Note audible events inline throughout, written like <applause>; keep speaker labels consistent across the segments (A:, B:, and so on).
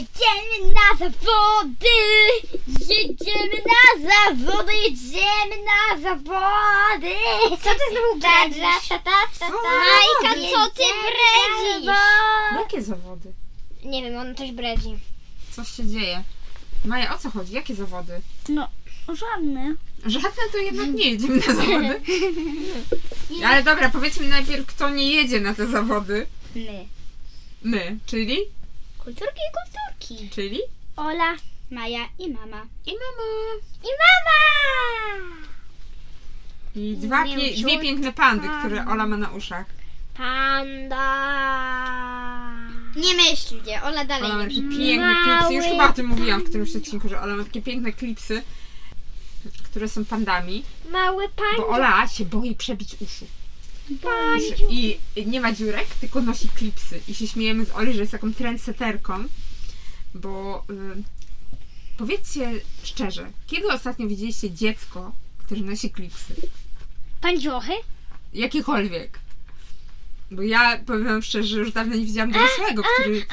A: Jedziemy na zawody! Jedziemy na zawody! Jedziemy na zawody!
B: Co ty znowu bredzisz?
A: Majka, co ty
B: Jedziemy
A: bredzisz?
B: na
C: Jakie zawody?
A: Nie wiem, on coś bredzi.
C: Coś się dzieje. Maja, o co chodzi? Jakie zawody?
D: No, żadne.
C: Żadne to jednak nie jedziemy na zawody. Ale dobra, powiedzmy najpierw, kto nie jedzie na te zawody.
A: My.
C: My, czyli?
A: Kulturki i kulturki.
C: Czyli?
A: Ola, Maja i mama.
C: I mama.
A: I mama!
C: I dwa pie- dwie piękne pandy, które Ola ma na uszach.
A: Panda!
B: Nie myślcie, Ola dalej.
C: Ola ma
B: nie
C: takie piękne
A: Mały
C: klipsy. Już chyba o tym mówiłam w którymś odcinku, że Ola ma takie piękne klipsy, które są pandami.
A: Mały
C: Bo
A: pan.
C: Ola się boi przebić uszu.
A: Pani.
C: I nie ma dziurek, tylko nosi klipsy. I się śmiejemy z Oli, że jest taką trendseterką, bo y, powiedzcie szczerze, kiedy ostatnio widzieliście dziecko, które nosi klipsy?
A: Pan Dziochy?
C: Jakiekolwiek. Bo ja powiem wam szczerze, że już dawno nie widziałam dorosłego, który...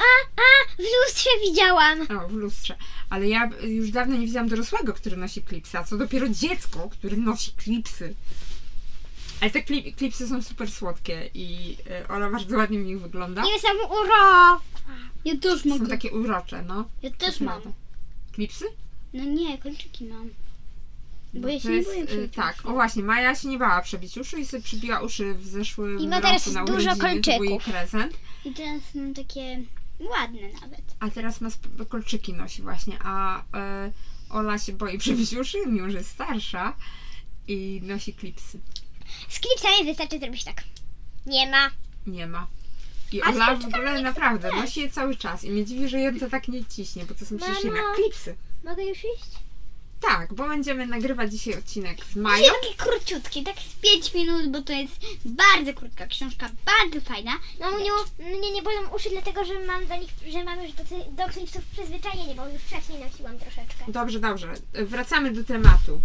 A: W lustrze widziałam.
C: O, w lustrze. Ale ja już dawno nie widziałam dorosłego, który nosi klipsy, a co dopiero dziecko, które nosi klipsy. Ale te klip, klipsy są super słodkie i y, Ola bardzo ładnie w nich wygląda.
A: Nie jestem urok.
D: Ja też
C: Są
D: mogę.
C: takie urocze, no.
A: Ja też
C: Ładne. Klipsy?
A: No nie, kolczyki mam. Bo ja
C: To
A: się nie
C: jest,
A: boję
C: y,
A: przebić
C: Tak, o właśnie, Maja się nie bała przebić uszu i sobie przybiła uszy w zeszłym
A: I ma
C: roku
A: teraz
C: na
A: dużo
C: urodziny. To był jej
A: kolczyków.
C: prezent.
A: I teraz mam takie ładne nawet.
C: A teraz ma sp- kolczyki nosi właśnie, a e, Ola się boi <laughs> przebić uszy, mimo że jest starsza i nosi klipsy.
A: Z klipsami wystarczy zrobić tak. Nie ma.
C: Nie ma. I
A: A z
C: Ola w
A: kolczykami
C: ogóle naprawdę nosi je cały czas i mnie dziwi, że ją to tak nie ciśnie, bo to są przecież
A: Mamo.
C: jednak klipsy.
A: Mogę już iść?
C: Tak, bo będziemy nagrywać dzisiaj odcinek z Mają.
A: Mają? Takie króciutkie, tak z 5 minut, bo to jest bardzo krótka książka, bardzo fajna. No,
B: Mamuniu, mnie nie bolą uszy, dlatego że mam do nich, że mam już do, ty- do klipsów przyzwyczajenie, bo już wcześniej nosiłam troszeczkę.
C: Dobrze, dobrze. Wracamy do tematu.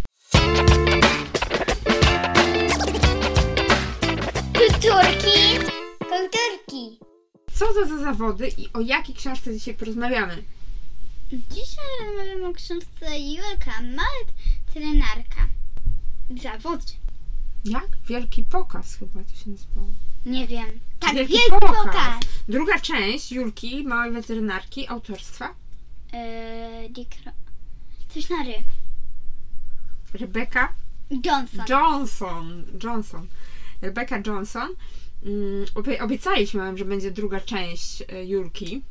A: Kulturki! Kulturki!
C: Co to za zawody i o jakiej książce dzisiaj porozmawiamy?
A: Dzisiaj rozmawiamy o książce Julka Małek, trenarka. Zawodzie.
C: Jak? Wielki pokaz chyba to się nazywało.
A: Nie wiem. Tak,
C: Wielki
A: wielki,
C: pokaz.
A: pokaz.
C: Druga część Julki, małej weterynarki, autorstwa
A: Eee, Dick Ro- Coś na ry.
C: Rebecca
A: Johnson.
C: Johnson. Johnson. Rebecca Johnson. Mm, obie- Obiecaliśmy wam, że będzie druga część e, Julki,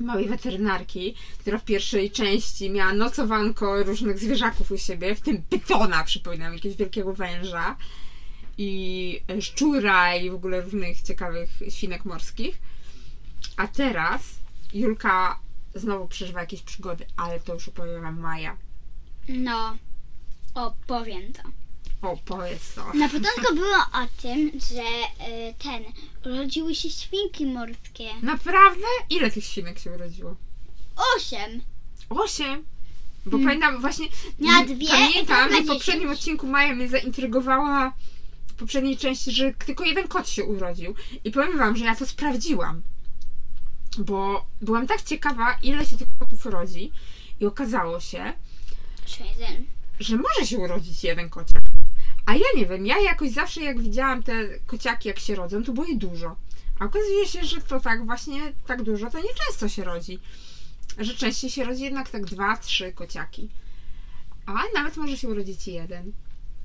C: małej weterynarki, która w pierwszej części miała nocowanko różnych zwierzaków u siebie, w tym pytona, przypominam, jakiegoś wielkiego węża i e, szczura i w ogóle różnych ciekawych świnek morskich. A teraz Julka znowu przeżywa jakieś przygody, ale to już opowiem wam Maja.
A: No, opowiem to.
C: O, powiedz to.
A: Na początku było o tym, że y, ten, urodziły się świnki morskie.
C: Naprawdę? Ile tych świnek się urodziło?
A: Osiem.
C: Osiem. Bo pamiętam właśnie.
A: Miała Hmm. dwie,
C: Pamiętam,
A: jedna
C: że
A: na
C: w poprzednim
A: dziesięć.
C: odcinku Maja mnie zaintrygowała w poprzedniej części, że tylko jeden kot się urodził. I powiem wam, że ja to sprawdziłam. Bo byłam tak ciekawa, ile się tych kotów rodzi. I okazało się,
A: Jeden.
C: że może się urodzić jeden kociak. A ja nie wiem, ja jakoś zawsze jak widziałam te kociaki, jak się rodzą, to było ich dużo. A okazuje się, że to tak właśnie, tak dużo to nieczęsto się rodzi. Że częściej się rodzi jednak tak dwa, trzy kociaki. A nawet może się urodzić jeden.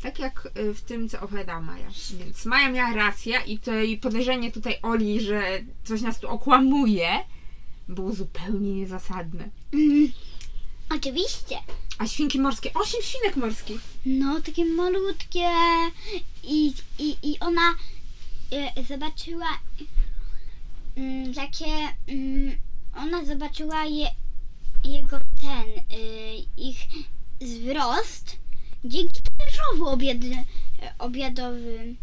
C: Tak jak y, w tym, co opowiadała Maja. Więc Maja miała rację i to jej podejrzenie tutaj Oli, że coś nas tu okłamuje, było zupełnie niezasadne.
A: Mm, oczywiście.
C: A świnki morskie, osiem świnek morskich.
A: No, takie malutkie. I, i, i ona e, zobaczyła mm, takie. Mm, ona zobaczyła je, jego ten, y, ich wzrost dzięki talerzowym obiad, obiadowym.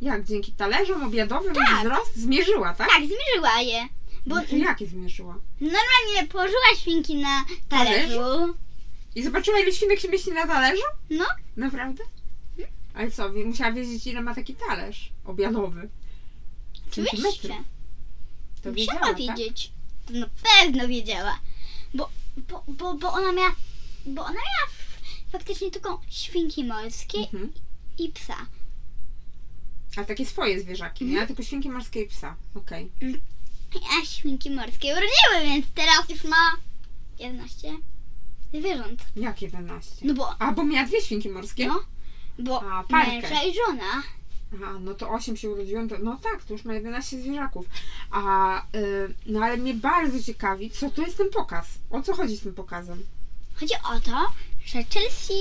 C: Jak dzięki talerzom obiadowym wzrost zmierzyła, tak?
A: Tak, zmierzyła je. Bo
C: Bo... Jakie zmierzyła?
A: normalnie położyła świnki na talerzu.
C: I zobaczyła, ile świnek się mieści na talerzu?
A: No.
C: Naprawdę?
A: Hmm?
C: Ale co, wie- musiała wiedzieć, ile ma taki talerz obiadowy?
A: Oczywiście.
C: Centymetrów. To
A: Musiała
C: wiedziała, tak?
A: wiedzieć. to na pewno wiedziała. Bo, bo, bo, bo ona miała, bo ona miała f- faktycznie tylko świnki morskie
C: Mhm.
A: i psa.
C: A takie swoje zwierzaki,
A: Mhm.
C: nie? Tylko świnki morskie i psa. Okej.
A: A świnki morskie urodziły, więc teraz już ma 11 zwierząt.
C: Jak 11?
A: No bo,
C: A, bo miała dwie świnki morskie?
A: no, bo
C: A, parkę.
A: męża i żona.
C: Aha, no to 8 się urodziłem, to, no tak, to już ma 11 zwierzaków. A, y, no ale mnie bardzo ciekawi, co to jest ten pokaz? O co chodzi z tym pokazem?
A: Chodzi o to, że Chelsea,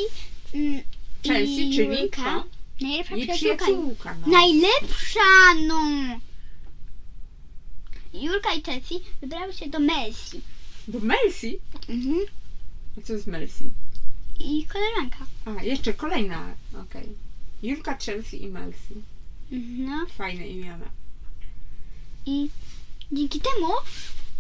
A: mm,
C: Chelsea,
A: i
C: czyli
A: Julka,
C: kto?
A: najlepsza
C: Jej
A: przyjaciółka.
C: przyjaciółka, no.
A: Najlepsza, no! Julka i Chelsea wybrały się do Melsi.
C: Bo Melsi?
A: Mhm.
C: A co jest Melsi?
A: I koleżanka.
C: A, jeszcze kolejna, okej. Julka, Chelsea i Melsi.
A: Mhm, No.
C: Fajne imiona.
A: I dzięki temu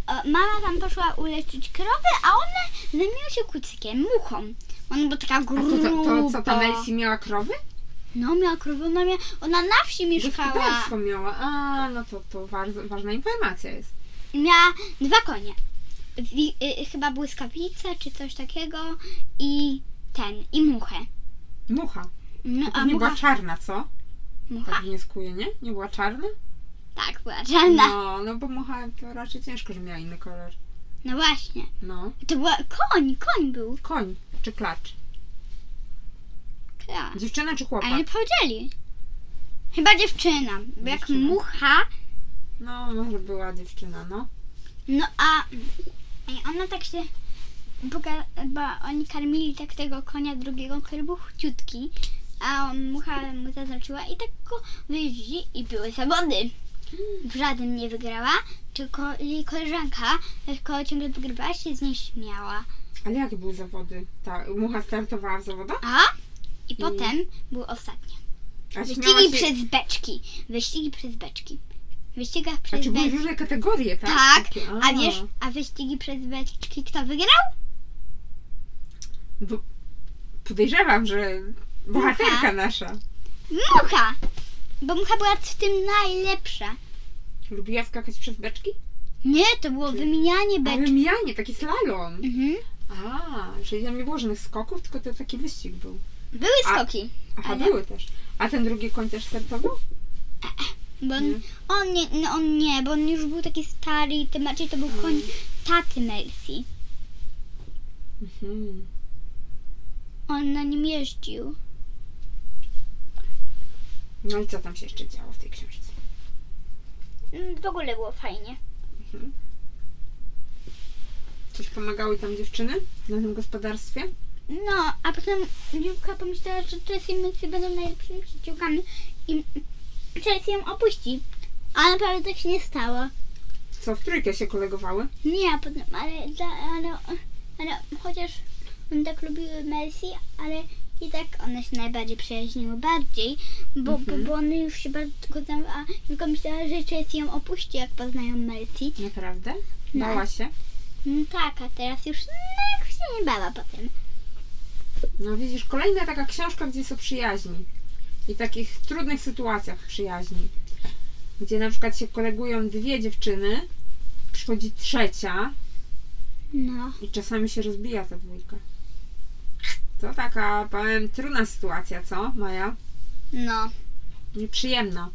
A: e, mama tam poszła uleczyć krowy, a one zajmują się kucykiem, muchą. Ona była taka
C: A
A: gruba.
C: to, to, to co, ta Melsi miała krowy?
A: No miała krowę, ona, miała, ona na wsi mieszkała.
C: Gospodarstwo miała. A, no to, to bardzo, ważna informacja jest.
A: I Miała dwa konie. Wi, y, chyba błyskawice czy coś takiego i ten, i muchę.
C: Mucha.
A: No,
C: To
A: a
C: nie
A: mucha,
C: była czarna, co?
A: mucha,
C: Tak wnioskuje, nie? Nie była czarna?
A: tak, była czarna. No.
C: No, no bo mucha to raczej ciężko, że miała inny kolor.
A: właśnie.
C: No.
A: To była koń, koń był.
C: Koń czy klacz?
A: Tak.
C: Dziewczyna czy chłopak?
A: Ale nie powiedzieli. Chyba dziewczyna. Bo jak
C: Dziewczyna.
A: mucha,
C: No, może była dziewczyna, no.
A: no a i ona tak się. Boga, bo oni karmili tak tego konia drugiego, który był chciutki, a on mucha mu zaznaczyła i tak go wyjeździ i były zawody. W żadnym nie wygrała, tylko jej koleżanka, tylko ciągle wygrywała, się z niej śmiała.
C: Ale jakie były zawody? Ta mucha startowała w zawodach?
A: A? I potem były ostatnie.
C: A śmiała
A: Wyścigi przez beczki. Wyścigi przez beczki. W wyścigach
C: A
A: przez
C: czy Znaczy, były
A: beczki.
C: różne kategorie, tak?
A: Tak,
C: Takie,
A: a wiesz, a wyścigi przez beczki kto wygrał?
C: Bo podejrzewam, że bohaterka nasza
A: Mucha! Bo mucha była w tym najlepsza.
C: lubiła skakać przez beczki?
A: Nie, to było wymienianie
C: A
A: beczki.
C: wymianie, taki slalom.
A: Mhm.
C: A, czyli tam nie było żadnych skoków, tylko to taki wyścig był.
A: Były
C: A-
A: skoki,
C: Aha,
A: Ale-
C: były też. A ten drugi koń też startował?
A: bo on, on, nie, no on nie, bo on już był taki stary i tym bardziej to był koń taty Melfi.
C: Mhm.
A: On na nim jeździł.
C: No i co tam się jeszcze działo w tej książce?
B: Mm, W ogóle było fajnie.
C: Coś pomagały tam dziewczyny na tym gospodarstwie?
A: No, a potem Julka pomyślała, że Chelsea i Melfi będą najlepszymi przyjaciółkami i Chelsea ją opuści. A naprawdę tak się nie stało.
C: Co, w trójkę się kolegowały?
A: Nie, a potem, ale, dla- ale, ale chociaż one tak lubiły Melsi, ale i tak one się najbardziej przyjaźniły bardziej, bo, bo, bo one już się bardzo go znały, a tylko myślała, że Chelsea ją opuści, jak poznają Melsi.
C: Naprawdę?
A: No.
C: Bała się?
A: No tak, a teraz już no, jak się nie bała potem.
C: No widzisz, kolejna taka książka, gdzie jest o przyjaźni. I takich trudnych sytuacjach przyjaźni. Gdzie na przykład się kolegują dwie dziewczyny, przychodzi trzecia
A: No,
C: i czasami się rozbija ta dwójka. To taka, powiem, trudna sytuacja, co, Maja?
A: no.
C: Nieprzyjemna.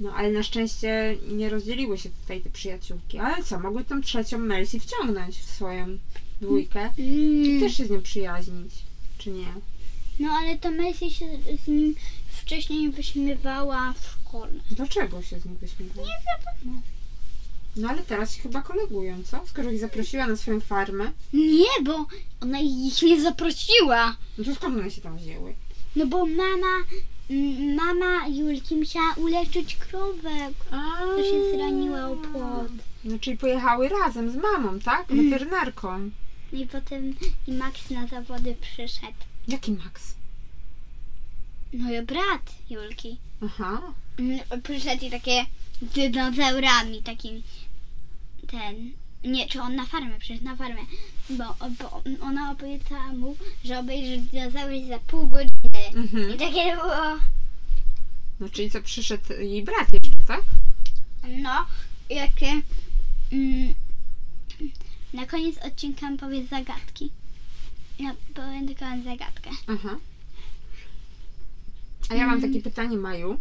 C: No ale na szczęście nie rozdzieliły się tutaj te przyjaciółki. Ale co, mogły tą trzecią Melsi wciągnąć w swoją dwójkę i
A: Mm,
C: też się z nią przyjaźnić, czy nie?
A: no ale to Melsi się z nim wcześniej wyśmiewała w szkole.
C: Dlaczego się z nich wyśmiewała?
A: Nie wiadomo.
C: No ale teraz się chyba kolegują, co? Skoro ich zaprosiła na swoją farmę,
A: Nie, bo ona ich nie zaprosiła.
C: no to skąd one się tam wzięły?
A: No bo mama, mm, mama Julki musiała uleczyć krowę,
C: A,
A: która się zraniła o płot.
C: No czyli pojechały razem z mamą, tak? Weterynarką.
A: No I potem i Max na zawody przyszedł.
C: Jaki Max?
A: No i brat Julki.
C: Aha.
A: Mm, Przyszedł i takie z dinozaurami takim ten. Nie, czy on na farmę, przecież na farmę. Bo, bo ona obiecała mu, że obejrzy dinozaury za pół godziny.
C: Mhm.
A: I takie było.
C: No czyli co, przyszedł jej brat jeszcze, tak?
A: No, jakie. No, Mm, na koniec odcinka powiedz zagadki. No, powiem tylko zagadkę.
C: Aha. A ja mam
A: Mm.
C: takie pytanie, Maju.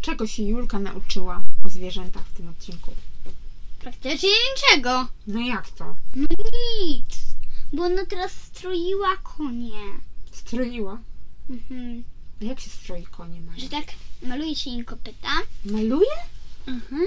C: Czego się Julka nauczyła o zwierzętach w tym odcinku?
A: Praktycznie niczego.
C: No jak to?
A: No nic. Bo ona teraz stroiła konie.
C: Stroiła?
A: Mhm.
C: A jak się stroi konie, Maju?
A: Że tak maluje się im kopyta.
C: Maluje?
A: Mhm.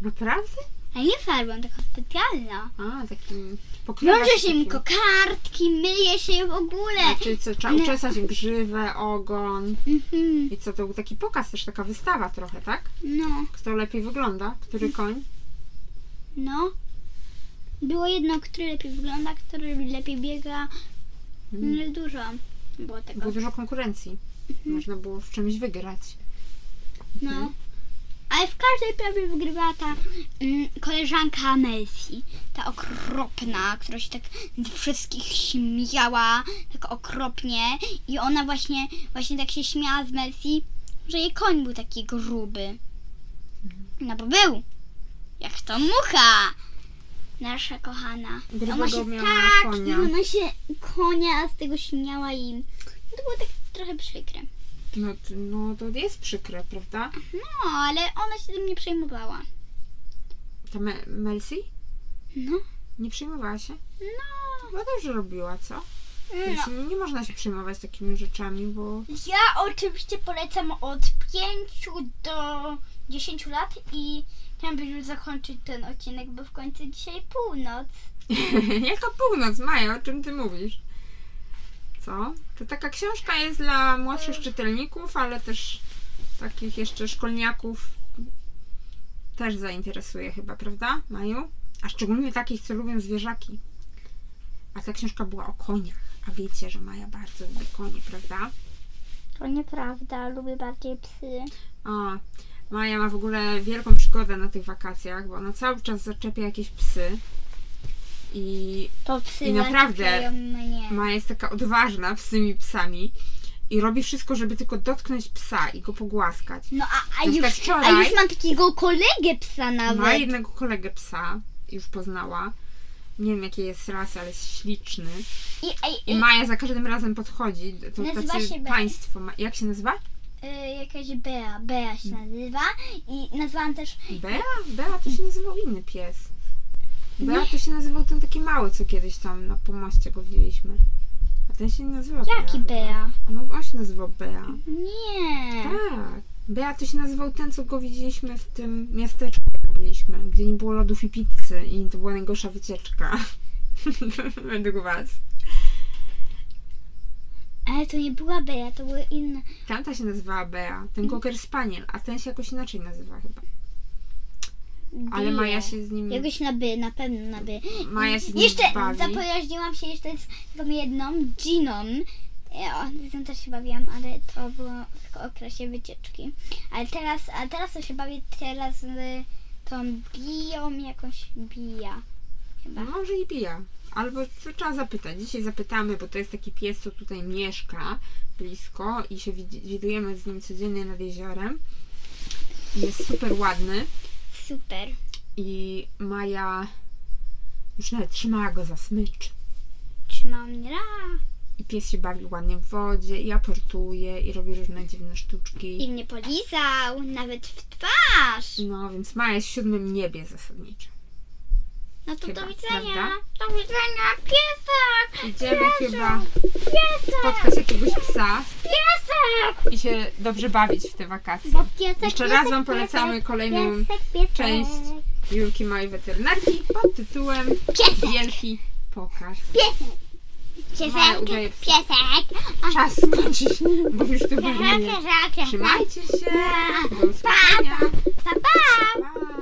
C: Naprawdę?
A: A nie farbą, taką specjalną.
C: A, takim pokrywa
A: Wiąże się im kokardki, myje się w ogóle.
C: Znaczy, co, trzeba uczesać grzywę, ogon.
A: Mhm.
C: I co, to był taki pokaz też, taka wystawa trochę, tak?
A: No,
C: Kto lepiej wygląda? Który koń?
A: no. Było jedno, który lepiej wygląda, który lepiej biega.
C: Mm.
A: No, dużo było tego.
C: Było dużo konkurencji.
A: Mhm.
C: Można było w czymś wygrać.
A: No. Ale w każdej prawie wygrywała ta mm, koleżanka Messi. Ta okropna, która się tak z wszystkich śmiała, tak okropnie. I ona właśnie, właśnie tak się śmiała z Messi, że jej koń był taki gruby. No bo był. Jak to mucha. Nasza kochana. Ona
C: Grubego
A: się
C: miała
A: tak,
C: konia.
A: ona się konia z tego śmiała i no to było tak trochę przykre.
C: No, t- no to jest przykre, prawda?
A: No, ale ona się tym nie przejmowała.
C: Ta Me- Melsi
A: No.
C: nie przejmowała się?
A: No.
C: Chyba dobrze robiła, co? Znaczy, nie można się przejmować takimi rzeczami, bo
B: Ja oczywiście polecam od 5 do 10 lat i chciałabym już zakończyć ten odcinek, bo w końcu dzisiaj północ.
C: <laughs> Jaka północ, Maja, o czym ty mówisz? Co? To taka książka jest dla młodszych czytelników, ale też takich jeszcze szkolniaków też zainteresuje chyba, prawda, Maju? A szczególnie takich, co lubią zwierzaki. A ta książka była o koniach. A wiecie, że Maja bardzo lubi konie, prawda?
A: To nieprawda, lubię bardziej psy.
C: A, Maja ma w ogóle wielką przygodę na tych wakacjach, bo ona cały czas zaczepia jakieś psy. I
A: To psy
C: I naprawdę-
A: zaczepiają mnie.
C: Maja jest taka odważna z tymi psami i robi wszystko, żeby tylko dotknąć psa i go pogłaskać.
A: No a, a,
C: Na
A: już,
C: przykład
A: a
C: tak wczoraj
A: już mam takiego kolegę psa nawet.
C: ma jednego kolegę psa, już poznała. Nie wiem jakiej jest rasy, ale jest śliczny.
A: I, i,
C: I Maja za każdym razem podchodzi. To
A: Nazywa
C: tacy
A: się Bea.
C: państwo. ma- Jak się nazywa?
A: y, jakaś Bea, Bea się nazywa i nazwałam też
C: Bea? Bea to się nazywał inny pies. Bea to się nazywał ten taki mały, co kiedyś tam na pomoście go widzieliśmy. A ten się nie nazywa
A: jaki
C: Bea. chyba.
A: Bea?
C: No on się nazywał Bea.
A: Nie.
C: Tak. Bea to się nazywał ten, co go widzieliśmy w tym miasteczku, jak byliśmy, gdzie nie było lodów i pizzy i to była najgorsza wycieczka. <laughs> Według was.
A: Ale to nie była Bea, to były inne.
C: Tamta się nazywała Bea,
A: Mhm.
C: ten Cocker Spaniel, a ten się jakoś inaczej nazywa chyba. Ale
A: Bea.
C: Maja się z nim,
A: Jakoś na by, na pewno na by.
C: Maja Mm. No, się z nim
A: Jeszcze
C: bawi.
A: zapojaźniłam się jeszcze z tą jedną, Giną. Ja z nią też się bawiłam, ale to było w okresie wycieczki. Ale teraz, a teraz to się bawię teraz z tą biją jakąś bija.
C: No, może i bija. Albo to trzeba zapytać. Dzisiaj zapytamy, bo to jest taki pies, co tutaj mieszka blisko i się widzi- widujemy z nim codziennie nad jeziorem. Jest super ładny.
A: Super.
C: i Maja już nawet trzymała go za smycz.
A: Trzymałam mnie ra
C: I pies się bawi ładnie w wodzie, i aportuje, i robi różne dziwne
A: i
C: sztuczki.
A: mnie polizał, nawet w twarz.
C: No, więc Maja jest w siódmym niebie zasadniczo.
A: No to
C: Chyba,
A: do widzenia.
C: prawda?
A: Do widzenia, piesek!
C: Idziemy chyba spotkać jakiegoś psa
A: Piesek!
C: i się dobrze bawić w te wakacje.
A: Bo piesek
C: Jeszcze
A: piesek,
C: raz Wam polecamy
A: piesek,
C: kolejną
A: piesek, piesek.
C: część Julki Małej Weterynarki pod tytułem
A: Piesek.
C: Wielki Pokaz. Maja
A: Piesek,
C: udaje psa.
A: piesek.
C: Czas skończyć, bo już tu wymienię.
A: Piesek, piesek.
C: Trzymajcie się. Do usłyszenia.
A: Pa, pa.
C: Pa.